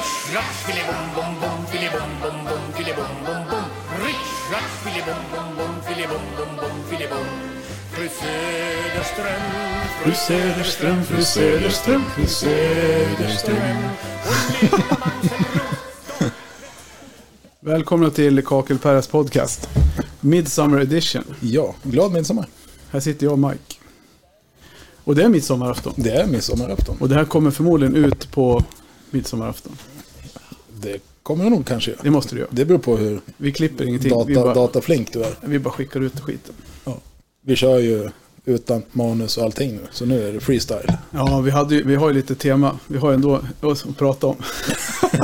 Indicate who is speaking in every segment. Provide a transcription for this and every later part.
Speaker 1: Rattfilibom, bom, bom, filibom, bom, bom, filibom, bom, bom. Rich rattfilibom, bom, bom, filibom, bom, bom, filibom. Fru Söderström,
Speaker 2: Fru Söderström, fru Söderström, fru Söderström. Välkomna till Kakelperras podcast. Midsummer edition.
Speaker 3: Ja, glad midsommar.
Speaker 2: Här sitter jag och Mike. Och det är midsommarafton.
Speaker 3: Det är midsommarafton.
Speaker 2: Och det här kommer förmodligen ut på midsommarafton.
Speaker 3: Det kommer jag nog kanske göra.
Speaker 2: Det måste det göra.
Speaker 3: Det beror på hur
Speaker 2: Vi klipper ingenting. vi,
Speaker 3: data,
Speaker 2: bara,
Speaker 3: dataflink du är.
Speaker 2: vi bara skickar ut skiten.
Speaker 3: Vi kör ju utan manus och allting nu, så nu är det freestyle.
Speaker 2: Ja, vi, hade ju, vi har ju lite tema. Vi har ju ändå oss att prata om.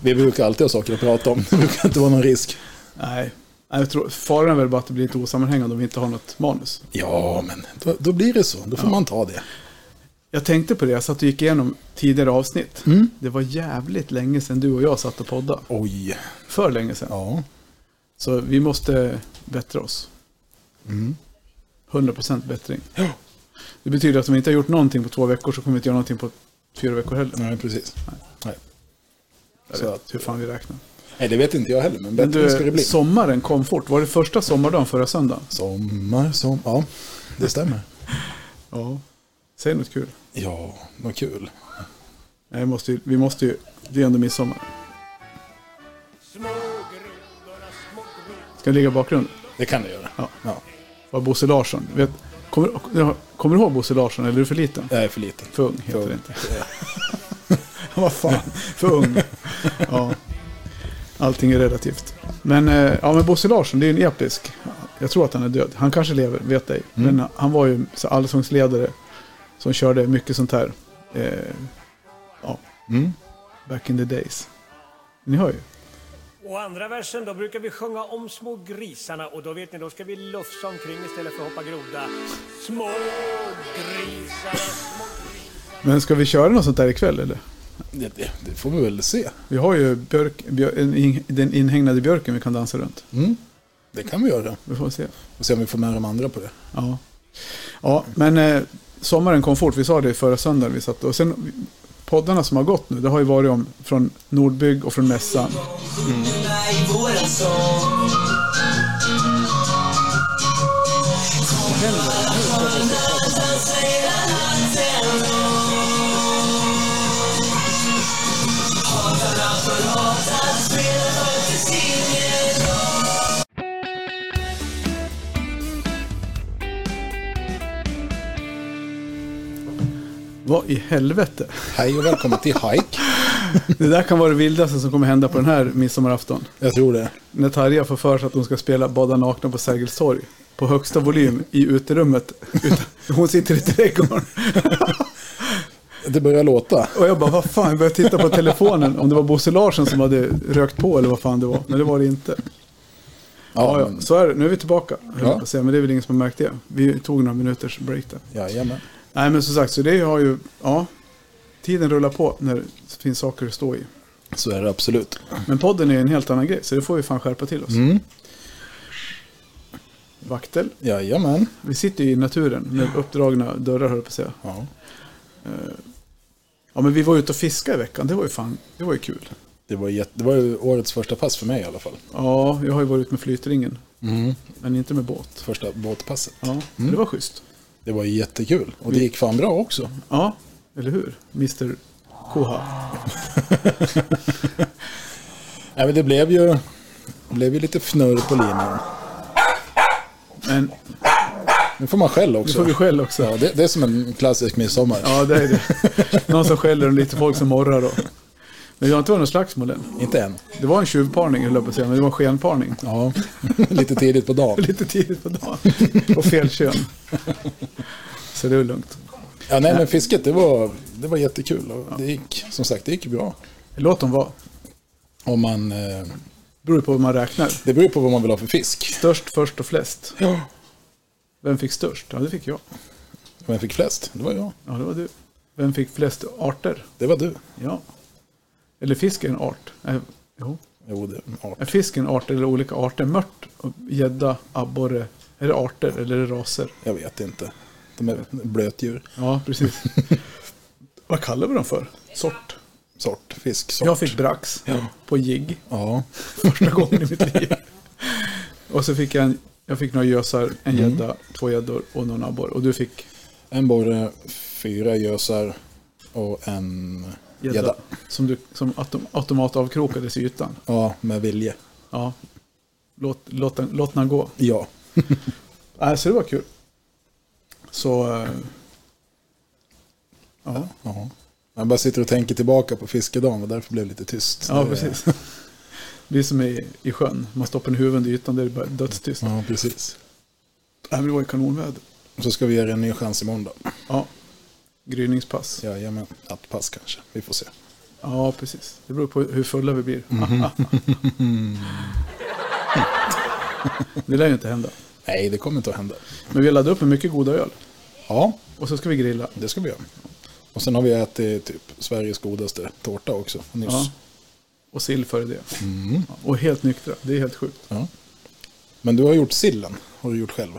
Speaker 3: Vi brukar alltid ha saker att prata om, det brukar inte vara någon risk.
Speaker 2: Nej, Nej, jag tror, faran är väl bara att det blir lite osammanhängande om vi inte har något manus.
Speaker 3: Ja, men då, då blir det så. Då får man ta det.
Speaker 2: Jag tänkte på det, jag satt och gick igenom tidigare avsnitt.
Speaker 3: Mm.
Speaker 2: Det var jävligt länge sedan du och jag satt och poddade.
Speaker 3: Oj.
Speaker 2: För länge sedan.
Speaker 3: Ja,
Speaker 2: Så vi måste bättra oss.
Speaker 3: Mm.
Speaker 2: 100% bättring.
Speaker 3: Ja.
Speaker 2: Det betyder att om vi inte har gjort någonting på två veckor så kommer vi inte göra någonting på fyra veckor heller.
Speaker 3: nej precis. Nej.
Speaker 2: Jag
Speaker 3: Så
Speaker 2: vet
Speaker 3: att-
Speaker 2: hur fan vi räknar.
Speaker 3: nej, det vet inte jag heller, men
Speaker 2: Men
Speaker 3: bättre ska det
Speaker 2: du,
Speaker 3: bli.
Speaker 2: sommaren kom fort. Var det första sommardagen förra söndagen?
Speaker 3: Sommar, som... Ja, det stämmer.
Speaker 2: Ja. Säg något kul.
Speaker 3: Ja, vad kul.
Speaker 2: Nej, vi måste ju, vi måste ju, det är ändå midsommar.
Speaker 1: små grodorna, små grodorna.
Speaker 2: Ska det ligga i bakgrunden?
Speaker 3: Det kan det göra.
Speaker 2: Ja.
Speaker 3: ja.
Speaker 2: Var Bosse Larsson. Vet, kommer, kommer du ihåg Bosse Larsson eller är du för liten?
Speaker 3: Jag är för liten.
Speaker 2: För ung heter
Speaker 3: För-
Speaker 2: det inte. Vad fan, för ung. Ja. Allting är relativt. Men, eh, ja, men Bosse Larsson, det är ju en episk. Jag tror att han är död. Han kanske lever, vet ej. Men han var ju så allsångsledare som körde mycket sånt här. Eh, ja,
Speaker 3: Mm.
Speaker 2: back in the days. Ni hör ju.
Speaker 1: Och andra versen, då brukar vi sjunga om små grisarna och då vet ni, då ska vi lufsa omkring istället för att hoppa groda. Små grisarna, små
Speaker 2: Men ska vi köra något sånt där ikväll eller?
Speaker 3: Det, det, det får vi väl se.
Speaker 2: Vi har ju björk, björ, en in- den inhägnade björken vi kan dansa runt.
Speaker 3: Det kan vi göra.
Speaker 2: Vi får se.
Speaker 3: Och se om vi får med de andra på det.
Speaker 2: Ja, ja men eh, sommaren kom fort. Vi sa det förra söndagen. Vi satt, och sen poddarna som har gått nu, det har ju varit om från Nordbygg och från mässan.
Speaker 4: sjunga i våran sång.
Speaker 2: Vad i helvete?
Speaker 3: Hej och välkommen till Hike.
Speaker 2: Det där kan vara det vildaste som kommer hända på den här midsommarafton.
Speaker 3: Jag tror det.
Speaker 2: När Tarja får för sig att hon ska spela Bada nakna på Sergels torg. På högsta volym i uterummet. Utan- Hon sitter i trädgården.
Speaker 3: Det börjar låta.
Speaker 2: Och jag bara, vad fan, jag började titta på telefonen. Om det var Bosse Larsson som hade rökt på eller vad fan det var. Men det var det inte. Ja, ja,
Speaker 3: men-
Speaker 2: så är det. Nu är vi tillbaka, höll jag
Speaker 3: Ja.
Speaker 2: på att säga. Men det är väl ingen som har märkt det. Vi tog några minuters break där.
Speaker 3: Jajamän.
Speaker 2: Nej, men som sagt, så det har ju... Ja, tiden rullar på när det finns saker att stå i.
Speaker 3: Så är det absolut.
Speaker 2: Men podden är en helt annan grej, så det får vi fan skärpa till oss. Vaktel.
Speaker 3: Jajamän.
Speaker 2: Vi sitter ju i naturen med uppdragna dörrar, höll jag på att säga.
Speaker 3: Ja.
Speaker 2: Ja, men vi var ute och fiskade i veckan. Det var ju fan, det var ju kul.
Speaker 3: Det, var jätte, det var ju årets första pass för mig i alla fall.
Speaker 2: Ja, jag har ju varit ute med flytringen. Men inte med båt.
Speaker 3: Första båtpasset.
Speaker 2: Ja, Mm. men det var schysst.
Speaker 3: Det var jättekul. Och det gick fan bra också.
Speaker 2: Ja, eller hur? Mr Koha.
Speaker 3: Nej, men det blev ju, det blev ju lite fnurr på linan.
Speaker 2: Men
Speaker 3: Nu får man skäll också.
Speaker 2: nu får vi skäll också.
Speaker 3: Ja, det, det är som en klassisk midsommar.
Speaker 2: Ja, det är det. Någon som skäller och lite folk som morrar då. Men det har inte varit något slagsmål än.
Speaker 3: Inte än.
Speaker 2: Det var en tjuvparning, höll jag på att säga, men det var en skenparning.
Speaker 3: Ja. lite tidigt på dagen.
Speaker 2: Lite tidigt på dagen. Och fel kön. Så det är lugnt.
Speaker 3: Ja, nej, men fisket det var, det var jättekul. Och det gick, som sagt, det gick bra.
Speaker 2: Låt dem vara.
Speaker 3: Om man, eh,
Speaker 2: Beror ju på hur man räknar.
Speaker 3: det beror på vad man vill ha för fisk.
Speaker 2: Störst, först och flest.
Speaker 3: Ja.
Speaker 2: Vem fick störst? Ja, det fick jag.
Speaker 3: Vem fick flest? Det var jag.
Speaker 2: Ja, det var du. Vem fick flest arter?
Speaker 3: Det var du.
Speaker 2: Ja. Eller fisk är en art. Nej, jo.
Speaker 3: Jo, det är en art.
Speaker 2: Är fisk en art eller olika arter? Mört, och gädda, abborre. Är det arter eller är det raser?
Speaker 3: Jag vet inte. De är blötdjur.
Speaker 2: Ja, precis. Vad kallar vi dem för? Sort?
Speaker 3: sort. Fisksort.
Speaker 2: Jag fick brax
Speaker 3: Ja.
Speaker 2: på jigg
Speaker 3: Ja.
Speaker 2: första gången i mitt liv. Och så fick jag, en, jag fick några gösar, en
Speaker 3: Mm.
Speaker 2: gädda, två gäddor och någon abborre. Och du fick
Speaker 3: En borre, fyra gösar och en
Speaker 2: gädda
Speaker 3: gädda.
Speaker 2: som, du- som autom, automatavkrokades i ytan.
Speaker 3: Ja, med vilje.
Speaker 2: Ja. Låt, låt, den, låt den gå.
Speaker 3: Ja.
Speaker 2: Nej, så det var kul. Så... eh, Ja,
Speaker 3: ja. Jag bara sitter och tänker tillbaka på fiskedagen och därför blev det lite tyst.
Speaker 2: ja
Speaker 3: Det-
Speaker 2: precis. Det är som i, i sjön. Man stoppar en huvud under ytan, det är bara dödstyst.
Speaker 3: Ja, precis.
Speaker 2: Nej, men det var ju kanonväder.
Speaker 3: Så ska vi ge er en ny chans imorgon då.
Speaker 2: Ja. Gryningspass. Ja.
Speaker 3: Jajamän, att pass kanske. Vi får se.
Speaker 2: precis. Det beror på hur fulla vi blir. det lär ju inte hända.
Speaker 3: Nej, det kommer inte att hända.
Speaker 2: Men vi laddade upp med mycket goda öl.
Speaker 3: Ja,
Speaker 2: Och så ska vi grilla.
Speaker 3: det ska vi göra. Och sen har vi ätit typ Sveriges godaste tårta också nyss.
Speaker 2: Ja. Och sill före det. Ja, Och helt nyktra. Det är helt sjukt.
Speaker 3: Ja. Men du har gjort sillen, har du gjort själv.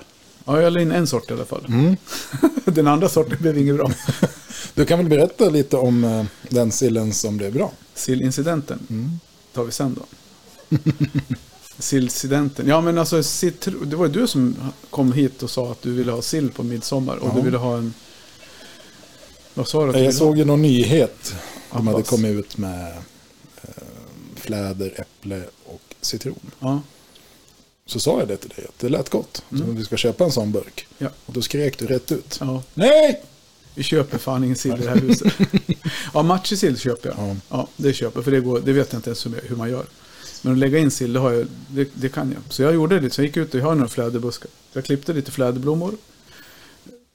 Speaker 2: Ja, jag la in en sort i alla fall. Den andra sorten blev inget bra.
Speaker 3: Du kan väl berätta lite om eh, den sillen som blev bra?
Speaker 2: Sillincidenten tar vi sen då. Sillincidenten. Ja, men alltså citro- det var ju du som kom hit och sa att du ville ha sill på midsommar och du ville ha en... Vad sa du? att du ville
Speaker 3: Jag såg ju någon nyhet. De hade
Speaker 2: Appas.
Speaker 3: kommit ut med eh, fläder, äpple och citron.
Speaker 2: ha?
Speaker 3: Så sa jag det till dig, att det lät gott. Så vi ska köpa en sån burk.
Speaker 2: Mm. Ja.
Speaker 3: Och då skrek du rätt ut.
Speaker 2: Ja, ja.
Speaker 3: Nej!
Speaker 2: Vi köper fan ingen sill i det här huset. Ja, matjessill köper jag.
Speaker 3: Ja.
Speaker 2: Ja, det köper jag, för det, går, det vet jag inte ens hur jag- hur man gör. Men att lägga in sill, det, har jag, det, det kan jag. Så jag gjorde det, så jag gick ut och jag har några fläderbuskar. Jag klippte lite fläderblommor,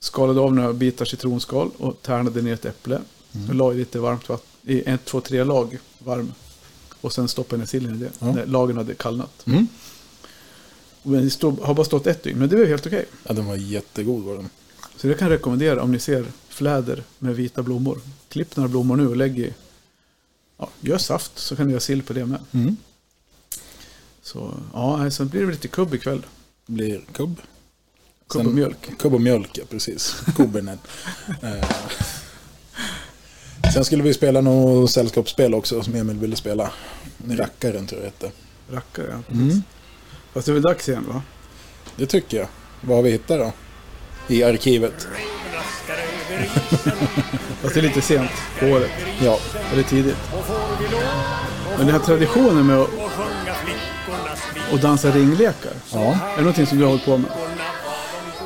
Speaker 2: skalade av några bitar citronskal och tärnade ner ett äpple.
Speaker 3: Mm.
Speaker 2: Och la i lite varmt vatten, i en, två, tre lag varm. Och sen stoppade jag ner sillen i det, när lagen hade kallnat.
Speaker 3: Mm.
Speaker 2: Men det stod, har bara stått ett dygn, men det var helt okej.
Speaker 3: Ja, den var jättegod var den.
Speaker 2: Så det kan jag rekommendera om ni ser fläder med vita blommor. Klipp några blommor nu och lägg i. Ja, gör saft så kan du göra sill på det med.
Speaker 3: Mm.
Speaker 2: Så ja, nej, sen blir det väl lite kubb ikväll.
Speaker 3: Det blir kubb.
Speaker 2: Kubb
Speaker 3: Sen-
Speaker 2: och mjölk.
Speaker 3: Kubb och mjölk, ja precis. Kubbernet. Sen skulle vi spela något sällskapsspel också som Emil ville spela. Rackaren tror jag det hette.
Speaker 2: Rackare, ja. precis.
Speaker 3: Mm.
Speaker 2: Fast det är väl dags igen va?
Speaker 3: Det tycker jag. Vad har vi hittat då? I arkivet.
Speaker 1: Raskar över isen,
Speaker 2: Fast det är lite sent på året.
Speaker 3: Ja.
Speaker 2: Eller tidigt.
Speaker 1: och får vi lov
Speaker 2: Men den här traditionen med att
Speaker 1: och sjunga flickornas
Speaker 2: att dansa ringlekar.
Speaker 3: ja.
Speaker 2: Är det någonting som du har hållit på med?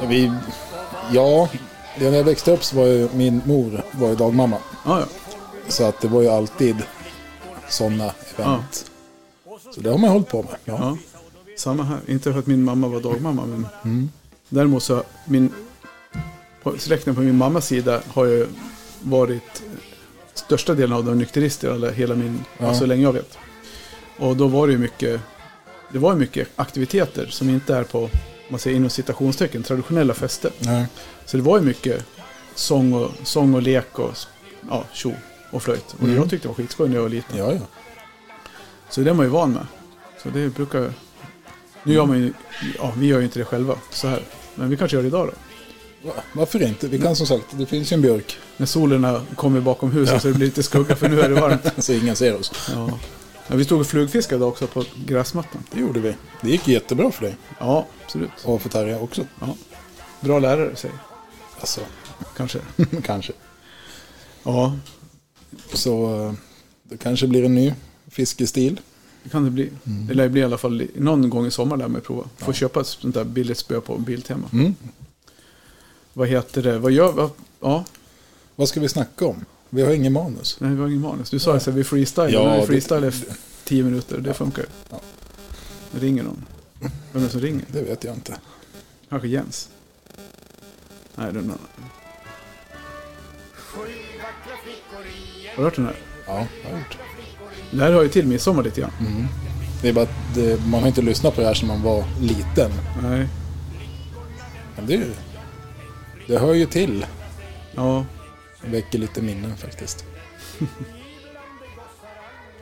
Speaker 3: Vi... Ja. När jag växte upp så var ju min mor var ju dagmamma.
Speaker 2: Ja, ja.
Speaker 3: Så att det var ju alltid sådana event. Så det har man hållit på med. Ja.
Speaker 2: ja. Samma här. Inte för att min mamma var dagmamma, men däremot så min på- släkten på min mammas sida har ju varit största delen av dem nykterister alla, hela min, alltså, så länge jag vet. Och då var det ju mycket, det var ju mycket aktiviteter som inte är på, om man säger inom citationstecken, traditionella fester.
Speaker 3: Nej.
Speaker 2: Så det var ju mycket sång och, sång och lek och ja, tjo och flöjt. Och jag tyckte det var skitskoj när jag var liten.
Speaker 3: Ja, ja.
Speaker 2: Så det är man ju van med. Så det brukar... Nu gör man ju... Ja, vi gör ju inte det själva så här. Men vi kanske gör det idag då.
Speaker 3: Va- Varför inte? Vi kan som sagt, det finns ju en björk.
Speaker 2: När solen har- kommer bakom huset så det blir lite skugga för nu är det varmt.
Speaker 3: Så ingen ser oss.
Speaker 2: Ja. Ja, vi stod och flugfiskade idag också på gräsmattan.
Speaker 3: Det gjorde vi. Det gick jättebra för dig.
Speaker 2: Ja, absolut.
Speaker 3: Och för Tarja också.
Speaker 2: Ja. Bra lärare, säger
Speaker 3: Alltså,
Speaker 2: jag, kanske.
Speaker 3: kanske.
Speaker 2: Ja,
Speaker 3: Så eh, det kanske blir en ny fiskestil.
Speaker 2: det kan det bli. Det lär ju bli i alla fall i- någon gång i sommar lär man ju prova. Få köpa ett sånt där billigt spö på Biltema. Vad heter det? Vad gör... Vad, ja,
Speaker 3: Vad ska vi snacka om? Vi har ingen manus.
Speaker 2: Nej, vi har ingen manus. Du sa ju så här, vi freestylar.
Speaker 3: Ja,
Speaker 2: Ja, vi
Speaker 3: det-
Speaker 2: freestylar i tio minuter, det funkar.
Speaker 3: Ja.
Speaker 2: Nu ringer någon. Vem är det som ringer?
Speaker 3: Det vet jag inte.
Speaker 2: Kanske Jens? Nej, det är någon annan. Har du hört den här?
Speaker 3: Ja, jag har gjort.
Speaker 2: Det här hör ju till midsommar lite grann.
Speaker 3: Mm. Det är bara att det, man har inte lyssnat på det här sedan man var liten.
Speaker 2: Nej,
Speaker 3: Men det, är ju- det hör ju till.
Speaker 2: ja.
Speaker 3: Det väcker lite minnen faktiskt.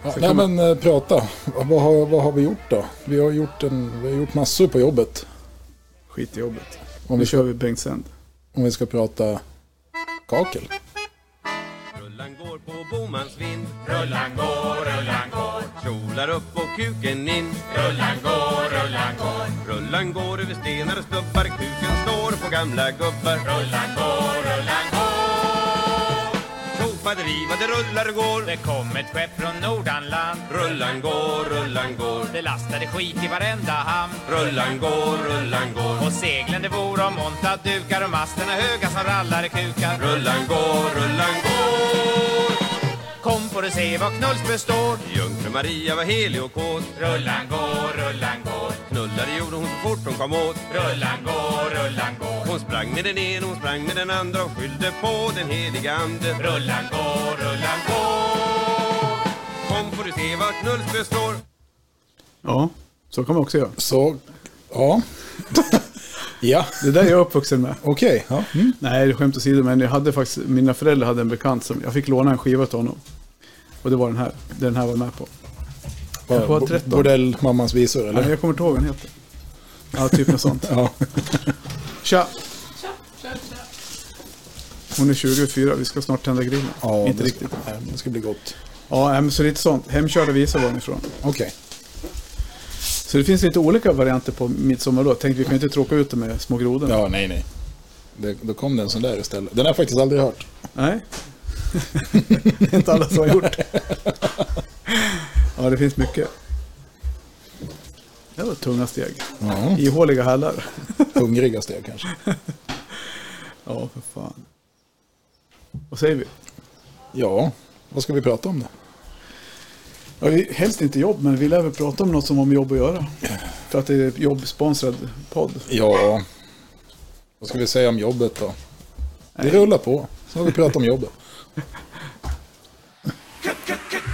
Speaker 3: Ja,
Speaker 2: Så
Speaker 3: nej
Speaker 2: kan man-
Speaker 3: men eh, prata. Vad har, vad har vi gjort då? Vi har gjort, en, vi har gjort massor på jobbet.
Speaker 2: Skit i jobbet.
Speaker 3: Om
Speaker 2: Nu
Speaker 3: vi,
Speaker 2: kör vi Bengt Sänd.
Speaker 3: om vi ska prata kakel.
Speaker 5: Rullan går på bon, sjömansvind Rullan går, rullan går Kjolar upp och kuken in Rullan går, rullan går Rullan går över stenar och stubbar Kuken står på gamla gubbar Rullan går, rullan går Tjofaderivade rullar går
Speaker 6: Det kom ett skepp från Nordanland
Speaker 5: Rullan går, rullan går
Speaker 6: Det lastade skit i varenda hamn
Speaker 5: Rullan går, rullan går
Speaker 6: Och seglen det vore om monta dukar Och masterna höga som rallare kukar
Speaker 5: Rullan går, rullan går
Speaker 6: Kom får du se vad knulls består
Speaker 5: Jungfru Maria var helig och kåt
Speaker 6: Rullan går, rullan går
Speaker 5: Knullade gjorde hon så fort hon kom åt
Speaker 6: Rullan går, rullan går
Speaker 5: Hon sprang med den ena, hon sprang med den andra och skyllde på den heliga ande.
Speaker 6: Rullan går, rullan går
Speaker 5: Kom får du se vart Nulls består.
Speaker 2: Ja, så kan man också göra.
Speaker 3: Så, ja. ja,
Speaker 2: Det där är jag uppvuxen med.
Speaker 3: okej. Ja. Mm.
Speaker 2: Nej, skämt åsido, men jag hade faktiskt, mina föräldrar hade en bekant som, jag fick låna en skiva till honom. Och det var den här, den här var med på. Jag var
Speaker 3: Bo-
Speaker 2: 13.
Speaker 3: Bordellmammans visor
Speaker 2: Ja, men
Speaker 3: eller?
Speaker 2: jag kommer inte ihåg vad den heter. Ja, typ något sånt.
Speaker 3: Ja.
Speaker 2: Tja! Hon är 24, vi ska snart tända grillen.
Speaker 3: ja
Speaker 2: inte
Speaker 3: det-
Speaker 2: riktigt.
Speaker 3: nej, men Det ska bli gott.
Speaker 2: Ja, nej, men så lite sånt. Hemkörda visor var den ifrån.
Speaker 3: Okej.
Speaker 2: Så det finns lite olika varianter på midsommar då. Tänk, vi kan ju inte tråka ut det med små grodorna.
Speaker 3: Ja, nej, nej. Det, då kom det en sån där istället. Den har jag faktiskt aldrig hört.
Speaker 2: Nej. det är inte alla som har gjort det. Ja, det finns mycket. Det var tunga steg.
Speaker 3: Ja.
Speaker 2: Ihåliga hällar.
Speaker 3: Hungriga steg kanske.
Speaker 2: Ja, för fan. Vad säger vi?
Speaker 3: Ja, vad ska vi prata om då?
Speaker 2: Ja, vi, helst inte jobb, men vi lär väl prata om något som har med jobb att göra. För att det är jobbsponsrad podd.
Speaker 3: Ja, vad ska vi säga om jobbet då? Det rullar på. Så har vi pratat om jobbet.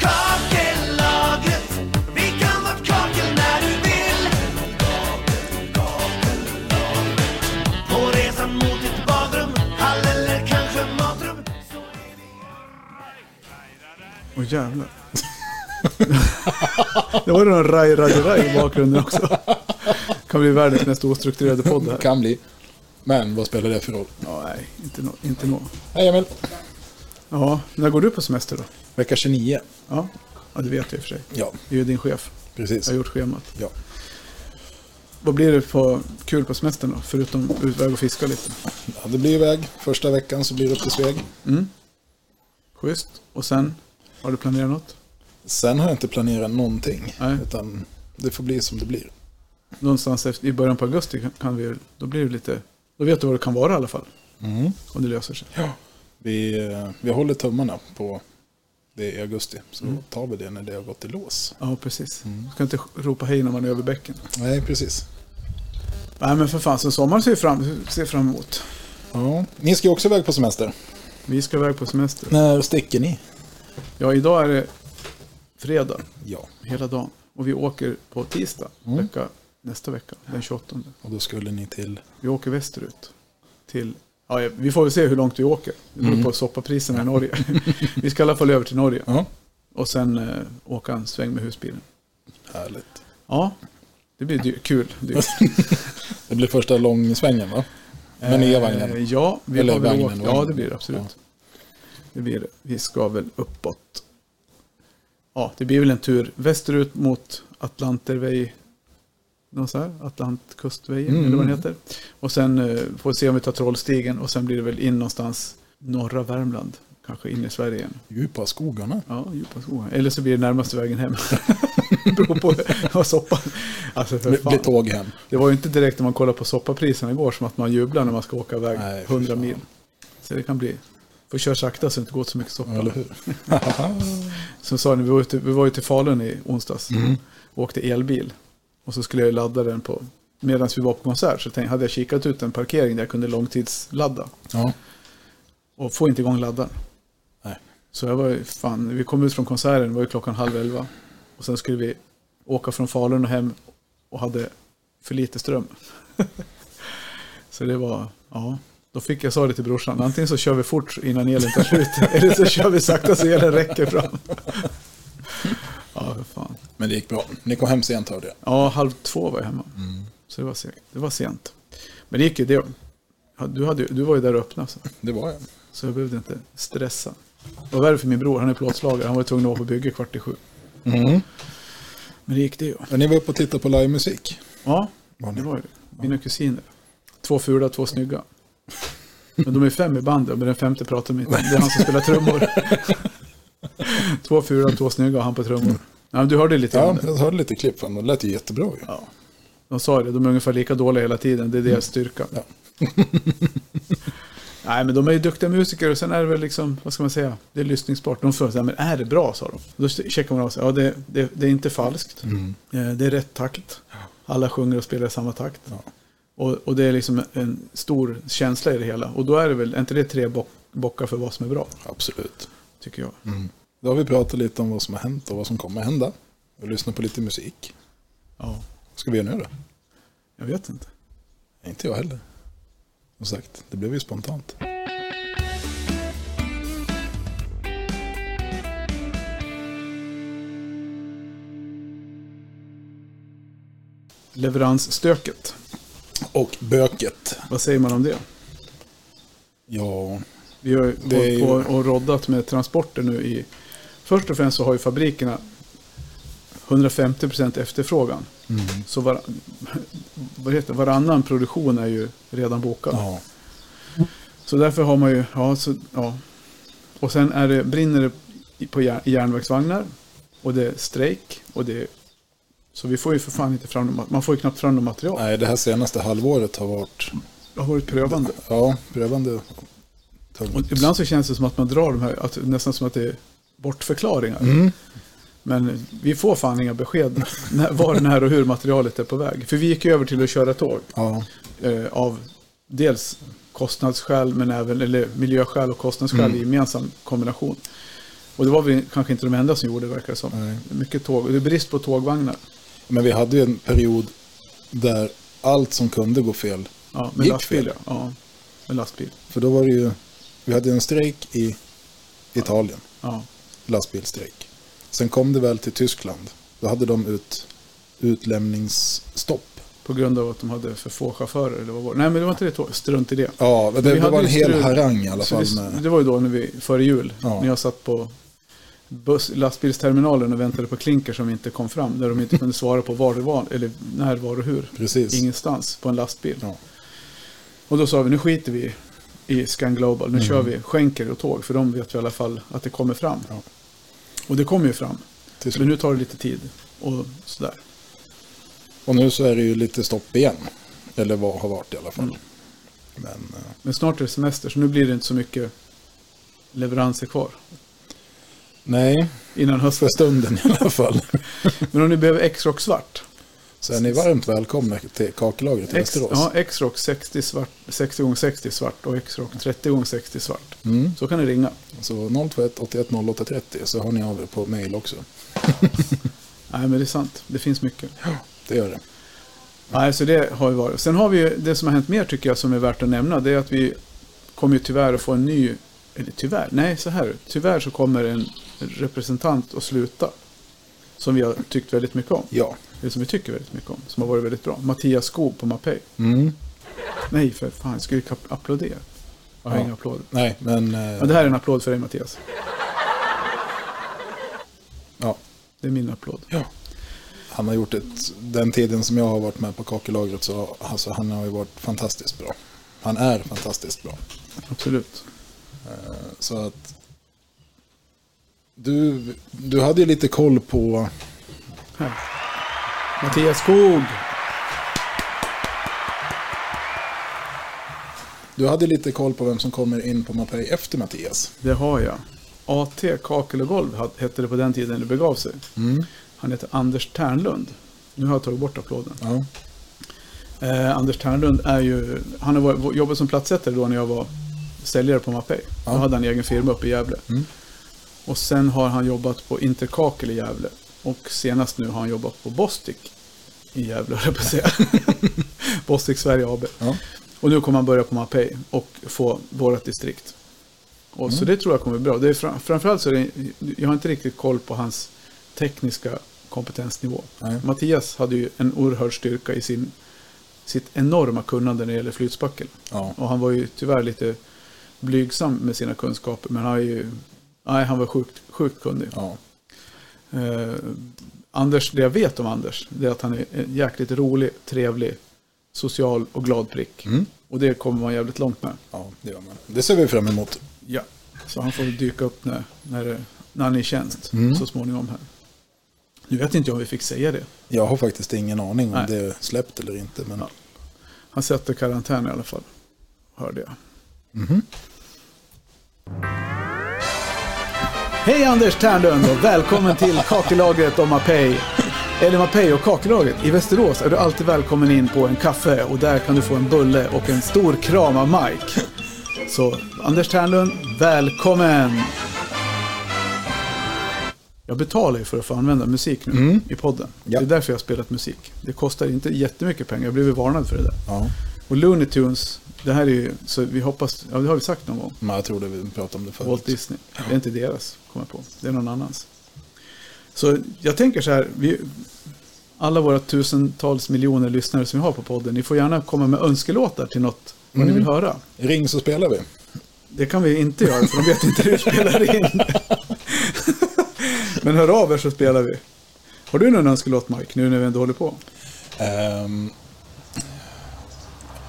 Speaker 4: Kakellagret, vi kan vart kakel när du vill. På resan mot ditt badrum, hall eller kanske matrum.
Speaker 2: Åh jävlar. det var någon raj raj raj i bakgrunden också. Kan bli världens mest ostrukturerade podd här.
Speaker 3: Kan bli. Men vad spelar det för roll?
Speaker 2: Ja, nej, inte nå. Inte nå.
Speaker 3: Hej Emil!
Speaker 2: Ja, när går du på semester då?
Speaker 3: Vecka 29.
Speaker 2: Ja, ja det vet jag i och för sig.
Speaker 3: Ja,
Speaker 2: Det är ju din chef.
Speaker 3: precis.
Speaker 2: Jag har gjort schemat.
Speaker 3: Ja.
Speaker 2: Vad blir det för kul på semestern då? Förutom utväg och fiska lite.
Speaker 3: Ja, det blir iväg. Första veckan så blir det upp till Sveg.
Speaker 2: Schysst. Och sen? Har du planerat något?
Speaker 3: Sen har jag inte planerat någonting.
Speaker 2: Nej.
Speaker 3: Utan det får bli som det blir.
Speaker 2: Någonstans efter, i början på augusti kan- kan vi Då blir det lite... Då vet du vad det kan vara i alla fall. Om det löser sig.
Speaker 3: Ja. Vi, eh, vi håller tummarna på det i augusti. Så tar vi det när det har gått i lås.
Speaker 2: Ja, precis. Ska inte ropa hej när man är över bäcken.
Speaker 3: Nej, precis.
Speaker 2: Nej, men för fan. Så sommaren ser vi fram, ser fram emot.
Speaker 3: Ja. Ni ska ju också iväg på semester.
Speaker 2: Vi ska iväg på semester.
Speaker 3: När sticker ni?
Speaker 2: Ja, idag är det fredag
Speaker 3: Ja,
Speaker 2: hela dagen. Och vi åker på tisdag vecka, nästa vecka, den 28.
Speaker 3: och då skulle ni till...
Speaker 2: Vi åker västerut. Till, ja, vi får väl se hur långt vi åker. Det beror på soppapriserna i Norge. vi ska i alla fall över till Norge.
Speaker 3: Ja,
Speaker 2: Och sen eh, åka en sväng med husbilen.
Speaker 3: härligt.
Speaker 2: Ja, det blir dy- kul. Dyrt.
Speaker 3: Det blir första långsvängen va? Med nya
Speaker 2: Eh,
Speaker 3: vagnen.
Speaker 2: Ja, vi
Speaker 3: Eller
Speaker 2: har väl
Speaker 3: vagnen,
Speaker 2: åkt.
Speaker 3: vagnen.
Speaker 2: Ja, det blir det absolut. Det blir det. Vi ska väl uppåt. Ja, det blir väl en tur västerut mot Atlantervej. Någon så här, Atlantkustvägen eller
Speaker 3: Mm.
Speaker 2: vad den heter. Och sen eh, får vi se om vi tar Trollstigen och sen blir det väl in någonstans norra Värmland. Kanske in i Sverige igen.
Speaker 3: Djupa skogarna.
Speaker 2: Ja, djupa skogar. Eller så blir det närmaste vägen hem. Beror på vad soppan... Alltså för
Speaker 3: Det blir
Speaker 2: fan.
Speaker 3: tåg hem.
Speaker 2: Det var ju inte direkt när man kollade på soppapriserna igår som att man jublar när man ska åka iväg
Speaker 3: Nej, för
Speaker 2: 100
Speaker 3: fan.
Speaker 2: mil. Så det kan bli. Får köra sakta så det inte går åt så mycket soppa.
Speaker 3: Eller hur?
Speaker 2: Som sa ni, vi var, ute, vi var ju till Falun i onsdags
Speaker 3: Mm.
Speaker 2: och åkte elbil. Och så skulle jag ladda den på, medan vi var på konsert så tänkte, hade jag kikat ut en parkering där jag kunde långtidsladda.
Speaker 3: Ja.
Speaker 2: Och få inte igång laddaren.
Speaker 3: Nej.
Speaker 2: Så jag var ju fan, vi kom ut från konserten, det var ju klockan halv elva. Och sen skulle vi åka från Falun och hem och hade för lite ström. så det var, ja. Då fick jag, sa det till brorsan, antingen så kör vi fort innan elen tar slut eller så kör vi sakta så elen räcker fram. ja, för fan.
Speaker 3: Men det gick bra. Ni kom hem sent hörde jag.
Speaker 2: Ja, halv två var jag hemma. Så det var, sent. det var sent. Men det gick ju, det, du, hade, ju- du var ju där och öppnade så,
Speaker 3: Det var jag.
Speaker 2: så jag behövde inte stressa. Det var värre för min bror, han är plåtslagare. Han var tvungen att vara på bygge kvart i sju. Men det gick det ju.
Speaker 3: Men ni var uppe och tittade på livemusik.
Speaker 2: Ja,
Speaker 3: Var ni?
Speaker 2: det var ju det. Mina kusiner. Två fula, två snygga. Men de är fem i bandet, men den femte pratar med inte. Det är han som spelar trummor. Två fula, två snygga och han på trummor. Ja, men du hörde lite om
Speaker 3: Ja,
Speaker 2: det.
Speaker 3: jag hörde lite klipp från dem. Det lät ju jättebra ju. Ja.
Speaker 2: De sa ju det, de är ungefär lika dåliga hela tiden. Det är deras styrka. Nej, men de är ju duktiga musiker och sen är det väl liksom, vad ska man säga, det är lyssningsbart. De frågar så här, men är det bra, sa de. Då checkar man av sig, ja det, det, det är inte falskt, Eh, det är rätt takt, alla sjunger och spelar i samma takt. Och, och det är liksom en stor känsla i det hela. Och då är det väl, är inte det tre bock, bockar för vad som är bra,
Speaker 3: Absolut.
Speaker 2: tycker jag.
Speaker 3: Då har vi pratat lite om vad som har hänt och vad som kommer hända. Och lyssnat på lite musik.
Speaker 2: Ja,
Speaker 3: Vad ska vi göra nu då?
Speaker 2: jag vet inte.
Speaker 3: Inte jag heller. Som sagt, det blev ju spontant.
Speaker 2: Leveransstöket,
Speaker 3: Och böket.
Speaker 2: vad säger man om det?
Speaker 3: Ja,
Speaker 2: Vi har ju
Speaker 3: Det är
Speaker 2: hållit
Speaker 3: ju-
Speaker 2: på och roddat med transporter nu i... Först och främst så har ju fabrikerna 150% efterfrågan.
Speaker 3: Mm.
Speaker 2: Så var, vad heter, det? varannan produktion är ju redan bokad.
Speaker 3: ja.
Speaker 2: Så därför har man ju... Ja, så, ja. Och sen är det, brinner det i- på jär, i järnvägsvagnar. Och det är strejk. Och det är, så vi får ju för fan inte fram... de- Man får ju knappt fram något material.
Speaker 3: Nej, det här senaste halvåret har varit
Speaker 2: Det har varit prövande.
Speaker 3: ja, prövande.
Speaker 2: Och ibland så känns det som att man drar de här, att, nästan som att det är bortförklaringar. Men vi får fan inga besked när, var, när och hur materialet är på väg. För vi gick ju över till att köra tåg
Speaker 3: Ja,
Speaker 2: eh, av dels kostnadsskäl men även eller miljöskäl och kostnadsskäl i gemensam kombination. Och det var vi kanske inte de enda som gjorde det verkar det som. Mycket tåg, och det är brist på tågvagnar.
Speaker 3: men vi hade ju en period där allt som kunde gå fel
Speaker 2: Ja, med lastbil ja. ja. Med lastbil.
Speaker 3: För då var det ju, vi hade en strejk i Italien,
Speaker 2: Ja.
Speaker 3: lastbilsstrejk. Sen kom det väl till Tyskland. Då hade de ut, utlämningsstopp.
Speaker 2: På grund av att de hade för få chaufförer eller vad var det? Nej men det var inte det tåg, strunt i det.
Speaker 3: Ja, det,
Speaker 2: Vi
Speaker 3: det
Speaker 2: hade
Speaker 3: var en
Speaker 2: ju
Speaker 3: hel
Speaker 2: strul.
Speaker 3: harang i alla
Speaker 2: Så
Speaker 3: fall.
Speaker 2: det,
Speaker 3: Med,
Speaker 2: det var ju då när vi, före jul,
Speaker 3: Ja.
Speaker 2: när jag satt på buss, lastbilsterminalen och väntade på klinker som inte kom fram. Där de inte kunde svara på var det var, eller när, var och hur.
Speaker 3: Precis.
Speaker 2: Ingenstans på en lastbil.
Speaker 3: Ja.
Speaker 2: Och då sa vi, nu skiter vi i Scan Global.
Speaker 3: Mm.
Speaker 2: Nu kör vi skänker och tåg, för de vet ju i alla fall att det kommer fram.
Speaker 3: Ja.
Speaker 2: Och det kommer ju fram.
Speaker 3: till
Speaker 2: Men
Speaker 3: slut.
Speaker 2: nu tar det lite tid. Och sådär.
Speaker 3: Och nu så är det ju lite stopp igen. Eller vad har varit i alla
Speaker 2: Mm.
Speaker 3: fall. Men eh,
Speaker 2: Men snart är det semester, så nu blir det inte så mycket leveranser kvar.
Speaker 3: nej,
Speaker 2: Innan
Speaker 3: för
Speaker 2: hösten.
Speaker 3: stunden i alla fall.
Speaker 2: Men om ni behöver X-Rock svart,
Speaker 3: Så är ni varmt välkomna till kakelagret i
Speaker 2: X,
Speaker 3: Västerås.
Speaker 2: ja, X-Rock 60 svart, 60 gånger 60 svart och X-Rock 30 gånger 60 svart.
Speaker 3: Mm.
Speaker 2: Så kan ni ringa.
Speaker 3: Så 021 81 08 30 så hör ni av er på mail också.
Speaker 2: Nej, men det är sant. Det finns mycket.
Speaker 3: Det gör det.
Speaker 2: Nej, så det har ju varit. Sen har vi ju det som har hänt mer tycker jag som är värt att nämna. Det är att vi kommer ju tyvärr att få en ny, eller tyvärr, nej så här. Tyvärr så kommer en representant att sluta. Som vi har tyckt väldigt mycket om.
Speaker 3: Ja,
Speaker 2: Eller som vi tycker väldigt mycket om. Som har varit väldigt bra. Mattias Skog på Mapei.
Speaker 3: Mm.
Speaker 2: Nej, för fan. Jag skulle ju kap- applådera. Jag har
Speaker 3: Ja.
Speaker 2: inga applåder.
Speaker 3: nej men... eh,
Speaker 2: Ja, det här är en applåd för dig Mattias.
Speaker 3: Ja.
Speaker 2: Det är min applåd.
Speaker 3: ja. Han har gjort ett... Den tiden som jag har varit med på kakelagret så alltså, han har ju varit fantastiskt bra. Han är fantastiskt bra.
Speaker 2: Absolut.
Speaker 3: Så att... Du, du hade ju lite koll på...
Speaker 2: Här. Mattias Skog.
Speaker 3: Du hade lite koll på vem som kommer in på Mapei efter Mattias.
Speaker 2: Det har jag. AT Kakel och Golv ha- hette det på den tiden det begav sig. Han heter Anders Ternlund. Nu har jag tagit bort applåden.
Speaker 3: Ja.
Speaker 2: Eh, Anders Ternlund är ju, han har varit- jobbat som plattsättare då när jag var säljare på Mapei. Då hade han egen firma uppe i Gävle. Och sen har han jobbat på Interkakel i Gävle. Och senast nu har han jobbat på Bostik i Gävle, höll jag på att säga. Bostik Sverige AB.
Speaker 3: Ja.
Speaker 2: Och nu kommer han börja på Mapei och få vårat distrikt. Och Så
Speaker 3: Mm.
Speaker 2: det tror jag kommer bli bra. Det är fram, framförallt så är det, jag har inte riktigt koll på hans tekniska kompetensnivå.
Speaker 3: Nej.
Speaker 2: Mattias hade ju en oerhörd styrka i sin, sitt enorma kunnande när det gäller flytspackel.
Speaker 3: Ja.
Speaker 2: Och han var ju tyvärr lite blygsam med sina kunskaper, men han är ju Nej, han var sjukt, sjukt kunnig.
Speaker 3: Ja.
Speaker 2: Eh, Anders, det jag vet om Anders, det är att han är en jäkligt rolig, trevlig, social och glad prick. Och det kommer man jävligt långt med.
Speaker 3: ja, det gör man. Det ser vi fram emot.
Speaker 2: Ja. Så han får dyka upp när, när, det- när han är i tjänst så småningom här. Nu vet inte jag om vi fick säga det.
Speaker 3: Jag har faktiskt ingen aning om
Speaker 2: Nej.
Speaker 3: det är släppt eller inte. Men
Speaker 2: Ja. Han sätter karantän i alla fall, hörde jag. Hej Anders Ternlund och välkommen till kakelagret och Mapei. Eller Mapei och kakelagret. I Västerås är du alltid välkommen in på en kaffe och där kan du få en bulle och en stor kram av Mike. Så Anders Ternlund, välkommen! Jag betalar ju för att få använda musik nu i podden.
Speaker 3: Ja.
Speaker 2: Det är därför jag har spelat musik. Det kostar inte jättemycket pengar, jag blev ju varnad för det där.
Speaker 3: ja,
Speaker 2: Och Looney Tunes, det här är ju, så vi hoppas, ja det har vi sagt någon gång.
Speaker 3: men jag tror det vi pratade om det förut.
Speaker 2: Walt Disney. Det är inte deras, kommer jag på. Det är någon annans. Så jag tänker så här, vi, alla våra tusentals miljoner lyssnare som vi har på podden, ni får gärna komma med önskelåtar till något vad ni vill höra.
Speaker 3: Ring så spelar vi.
Speaker 2: Det kan vi inte göra, för de vet inte hur vi spelar in. Men hör av er så spelar vi. Har du någon önskelåt Mike, nu när vi ändå håller på?
Speaker 3: Ehm,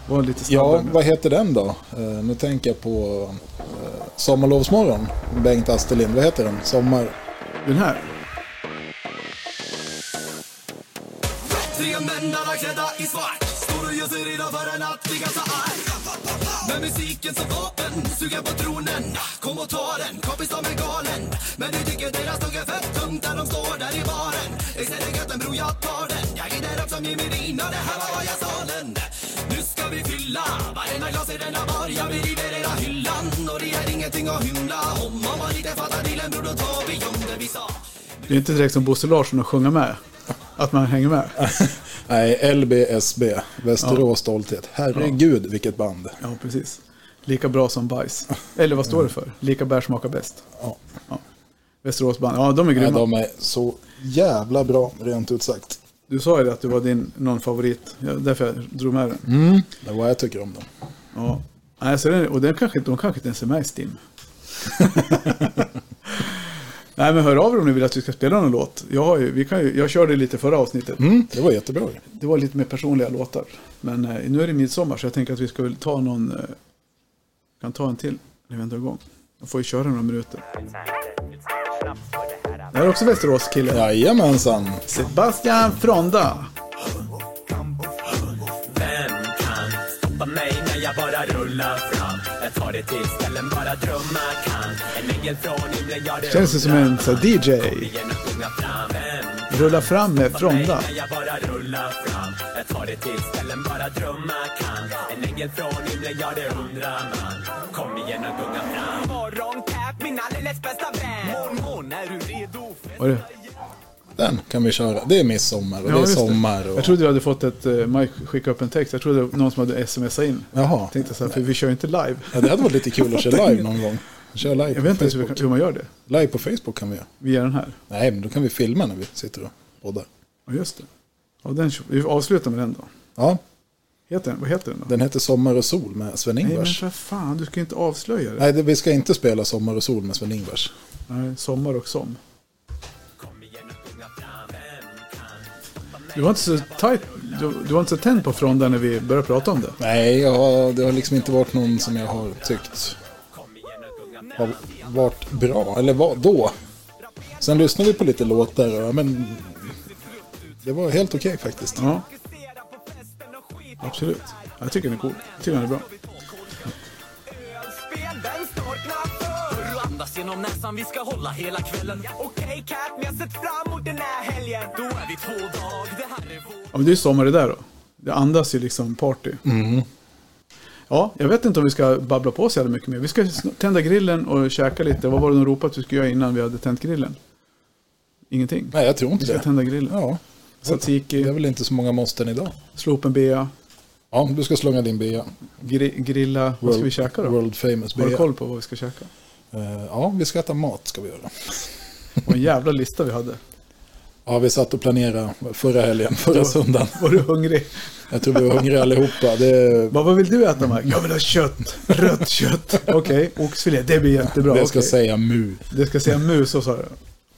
Speaker 2: Var lite snabbare
Speaker 3: ja,
Speaker 2: nu.
Speaker 3: vad heter den då? Eh, nu tänker jag på eh, Sommarlovsmorgon. Bengt Asterlind. Vad heter den? Sommar...
Speaker 2: Den här.
Speaker 7: Tre män alla klädda i svart Står och göser idag för en natt vi kan ta arg Med musiken som vapen, suga på tronen Kom och ta den, kompis de är galen Men du tycker deras tugg är fett tungt när de står där i baren Istället götten bror jag tar den Jag glider upp som Jimmy Dean och det här var vad jag salen Nu ska vi fylla varenda glas i denna bar Ja vi river hela hyllan och det är ingenting att hymla om Om man inte fattar dealen bror då tar vi om det vi sa
Speaker 2: Det är inte direkt som Bosse Larsson att sjunga med. Att man hänger med.
Speaker 3: Nej, LBSB. Västerås Stolthet. Herregud, vilket band.
Speaker 2: Ja, precis. Lika bra som bajs. Eller vad står det för? Lika bär smakar bäst.
Speaker 3: Ja.
Speaker 2: Ja. Västerås band. Ja, de är grymma.
Speaker 3: Nej, de är så jävla bra, rent ut sagt.
Speaker 2: Du sa ju det att du var din någon favorit. Ja, därför jag drog med den.
Speaker 3: Mm. Det är vad jag tycker om dem.
Speaker 2: Ja. Nej, så den, och den kanske, de kanske inte ens är med i Stim. Nej, men hör av er om ni vill att vi ska spela någon låt. Jag, har ju, vi kan ju, jag körde lite förra avsnittet.
Speaker 3: Det var jättebra ju.
Speaker 2: Det var lite mer personliga låtar. Men eh, nu är det midsommar så jag tänker att vi ska väl ta någon... Eh, kan ta en till när vi ändå är igång. Jag får ju köra några minuter. Det här är också Västerås kille.
Speaker 3: Jajamensan.
Speaker 2: Sebastian Fronda.
Speaker 7: Vem kan stoppa mig när jag bara rullar fram? Jag tar det till ställen bara drömmar kan. En ängel från himlen, jag det
Speaker 2: Känns det som en så här, DJ.
Speaker 7: Genom tunga fram. Vem kan
Speaker 2: Rulla fram med
Speaker 7: stoppa mig
Speaker 2: Fronda.
Speaker 7: när jag bara rullar fram? Jag tar det till ställen bara drömmar kan. En ängel från himlen, jag det undrar man. Kom igen och gunga fram. Morgon, Cap, min alldeles bästa vän. Mormon, är du redo?
Speaker 2: Var det?
Speaker 3: Den kan vi köra. Det är midsommar och
Speaker 2: Ja,
Speaker 3: det är
Speaker 2: just det.
Speaker 3: sommar. Och...
Speaker 2: Jag trodde jag hade fått ett... eh, Mike skickade upp en text. Jag trodde det var någon som hade smsat in.
Speaker 3: Jaha.
Speaker 2: Tänkte så här, för vi kör ju inte live.
Speaker 3: Ja, det hade varit lite kul att köra live någon gång. Köra live
Speaker 2: Jag
Speaker 3: på
Speaker 2: vet inte ens
Speaker 3: Facebook.
Speaker 2: hur- hur man gör det.
Speaker 3: Live på Facebook kan vi göra.
Speaker 2: Via den här.
Speaker 3: Nej, men då kan vi filma när vi sitter och poddar.
Speaker 2: Ja, just det. Ja, den, vi avslutar med den då.
Speaker 3: Ja,
Speaker 2: Heter den, vad heter den då?
Speaker 3: den heter Sommar och sol med
Speaker 2: Nej men
Speaker 3: Sven-Ingvars.
Speaker 2: för fan, du ska ju inte avslöja det.
Speaker 3: Nej, det, vi ska inte spela Sommar och sol med Sven-Ingvars.
Speaker 2: Nej, sommar och som. Du var inte så tight, du, du var inte så tänd på Fronda när vi började prata om det.
Speaker 3: Nej, jag har, det har liksom inte varit någon som jag har tyckt har varit bra. Eller vad då? Sen lyssnade vi på lite låtar och ja, men det var helt okej faktiskt.
Speaker 2: Ja. Absolut. Jag tycker den är cool. Jag tycker den är bra.
Speaker 7: Spel, den står knappt för Och andas genom näsan, vi ska hålla hela kvällen Okej Cat, men jag sett fram emot den här helgen Då är vi två dag, det här är vår
Speaker 2: Ja, men det är ju sommar det där då. Det andas ju liksom party.
Speaker 3: Mm.
Speaker 2: Ja, jag vet inte om vi ska babbla på så jävla mycket mer. Vi ska sn- tända grillen och käka lite. Vad var det de ropade att vi skulle göra innan vi hade tänt grillen? Ingenting.
Speaker 3: Nej, jag tror
Speaker 2: Vi
Speaker 3: inte
Speaker 2: ska
Speaker 3: det.
Speaker 2: tända grillen.
Speaker 3: Ja, det är
Speaker 2: Tzatziki,
Speaker 3: väl inte så många måsten idag.
Speaker 2: slå upp en bea,
Speaker 3: Ja, du ska slunga din bea.
Speaker 2: gri- grilla. Vad ska vi käka då?
Speaker 3: World famous
Speaker 2: Har du
Speaker 3: bea.
Speaker 2: koll på vad vi ska käka?
Speaker 3: Eh, Ja, vi ska äta mat ska vi göra.
Speaker 2: Och en jävla lista vi hade.
Speaker 3: Ja, vi satt och planerade förra helgen, förra söndagen.
Speaker 2: Var du hungrig?
Speaker 3: Jag tror vi var hungriga allihopa. Det,
Speaker 2: Vad, vad vill du äta Mark? Jag vill ha kött. Rött kött. Okej, oxfilé. Det blir jättebra.
Speaker 3: det ska
Speaker 2: Okej.
Speaker 3: säga mu.
Speaker 2: Det ska säga mus, så sa jag.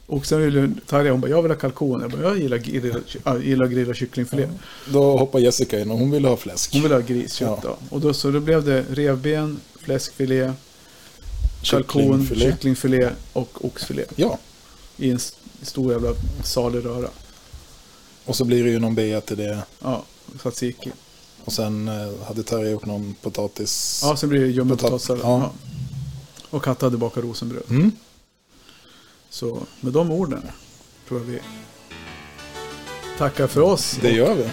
Speaker 2: Och sen ville Tarja, hon bara, jag vill ha kalkon. Jag bara, jag gillar, grilla, jag gillar grilla kycklingfilé.
Speaker 3: Då hoppar Jessica in och hon ville ha fläsk.
Speaker 2: Hon ville ha griskött
Speaker 3: Ja.
Speaker 2: då. Och då, så då blev det revben, fläskfilé, kalkon,
Speaker 3: Kycklingfilé.
Speaker 2: kycklingfilé och oxfilé.
Speaker 3: Ja,
Speaker 2: I en s- stor jävla salig röra.
Speaker 3: och så blir det ju någon bea till det.
Speaker 2: Ja, tzatziki.
Speaker 3: Och sen eh, hade Terry gjort någon potatis.
Speaker 2: Ja, sen blir det ljummen
Speaker 3: Potat-
Speaker 2: potatissallad. Ja.
Speaker 3: ja. Mm.
Speaker 2: Och Katta hade bakat rosenbröd. Så med de orden tror jag vi tackar för oss.
Speaker 3: Det gör vi.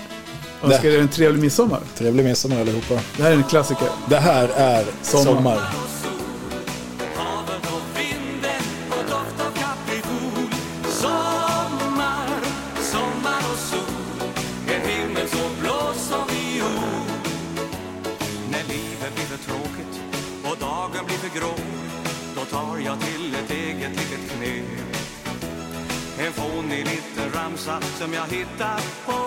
Speaker 2: och önskar er en trevlig midsommar.
Speaker 3: Trevlig midsommar allihopa.
Speaker 2: Det här är en klassiker.
Speaker 3: Det här är
Speaker 2: Sommar.
Speaker 3: sommar.
Speaker 4: Havet och vinden och doft av kaprifol Sommar, sommar och sol En himmel så blå som viol När livet blir för tråkigt och dagen blir för grå Då tar jag till ett eget litet knep En fånig liten ramsa som jag hittar på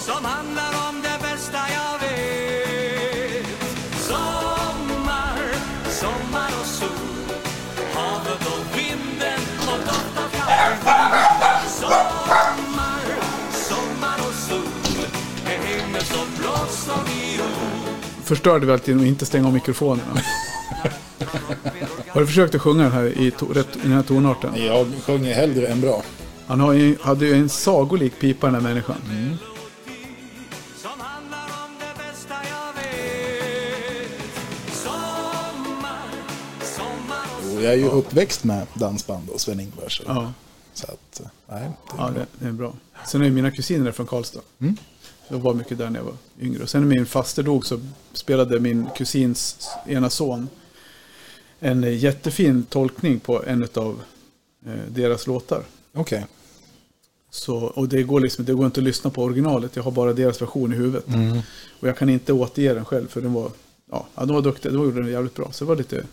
Speaker 4: Som handlar om det bästa jag vet Sommar, sommar och sol Havet och vinden och doft av kaffe Sommar, sommar och sol En himmel så blå som viol
Speaker 2: Förstörde vi alltid genom att inte stänga av mikrofonerna. har du försökt att sjunga den här i, to- rätt, i den här tonarten?
Speaker 3: Jag sjunger hellre än bra.
Speaker 2: Han har ju, hade ju en sagolik pipa den här människan.
Speaker 4: Som handlar om det bästa jag vet Sommar, sommar och
Speaker 3: Och jag är ju uppväxt med dansband och Sven-Ingvars.
Speaker 2: Ja,
Speaker 3: Så att, eh, nej. det-
Speaker 2: ja det, det är bra. Sen är ju mina kusiner från Karlstad. Jag var mycket där när jag var yngre. Och sen när min faster dog så spelade min kusins ena son en jättefin tolkning på en av eh, deras låtar.
Speaker 3: Okej.
Speaker 2: Så, och det går, liksom, det går inte att lyssna på originalet, jag har bara deras version i huvudet. Och jag kan inte återge den själv, för den var, ja, ja, de var duktiga, de gjorde den jävligt bra. Så det var lite,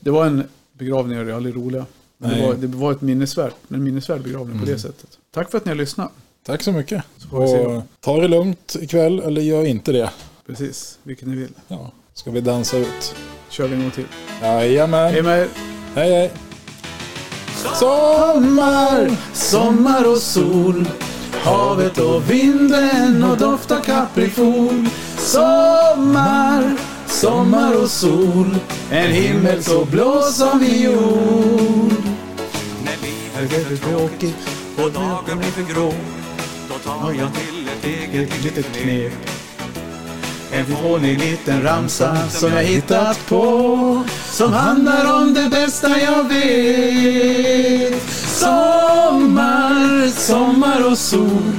Speaker 2: det var en begravning, och det är aldrig roliga. Men det
Speaker 3: Nej.
Speaker 2: var, det var ett minnesvärt, en minnesvärd begravning på det sättet. Tack för att ni har lyssnat.
Speaker 3: Tack så mycket.
Speaker 2: får vi se.
Speaker 3: Och ta det lugnt ikväll, eller gör inte det.
Speaker 2: Precis, vilket ni vill.
Speaker 3: Ja. Ska vi dansa ut?
Speaker 2: Kör vi en gång till.
Speaker 3: Jajamän.
Speaker 2: Hej med er!
Speaker 3: Hej, hej. Sommar!
Speaker 2: Sommar och sol Havet och vinden och doft av kaprifol Sommar, sommar och sol En himmel så blå som viol
Speaker 4: När livet blir för tråkigt och dagen blir för grå Då tar jag till ett eget litet knep
Speaker 2: En fånig liten ramsa som jag hittat på Som handlar om det bästa jag vet Sommar, sommar och sol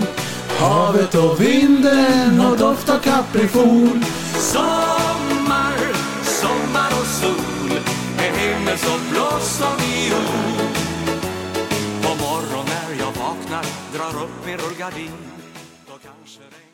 Speaker 2: Havet och vinden och doft av kaprifol
Speaker 4: Sommar, sommar och sol En himmel så blå som viol På morgon när jag vaknar drar upp min rullgardin Då kanske det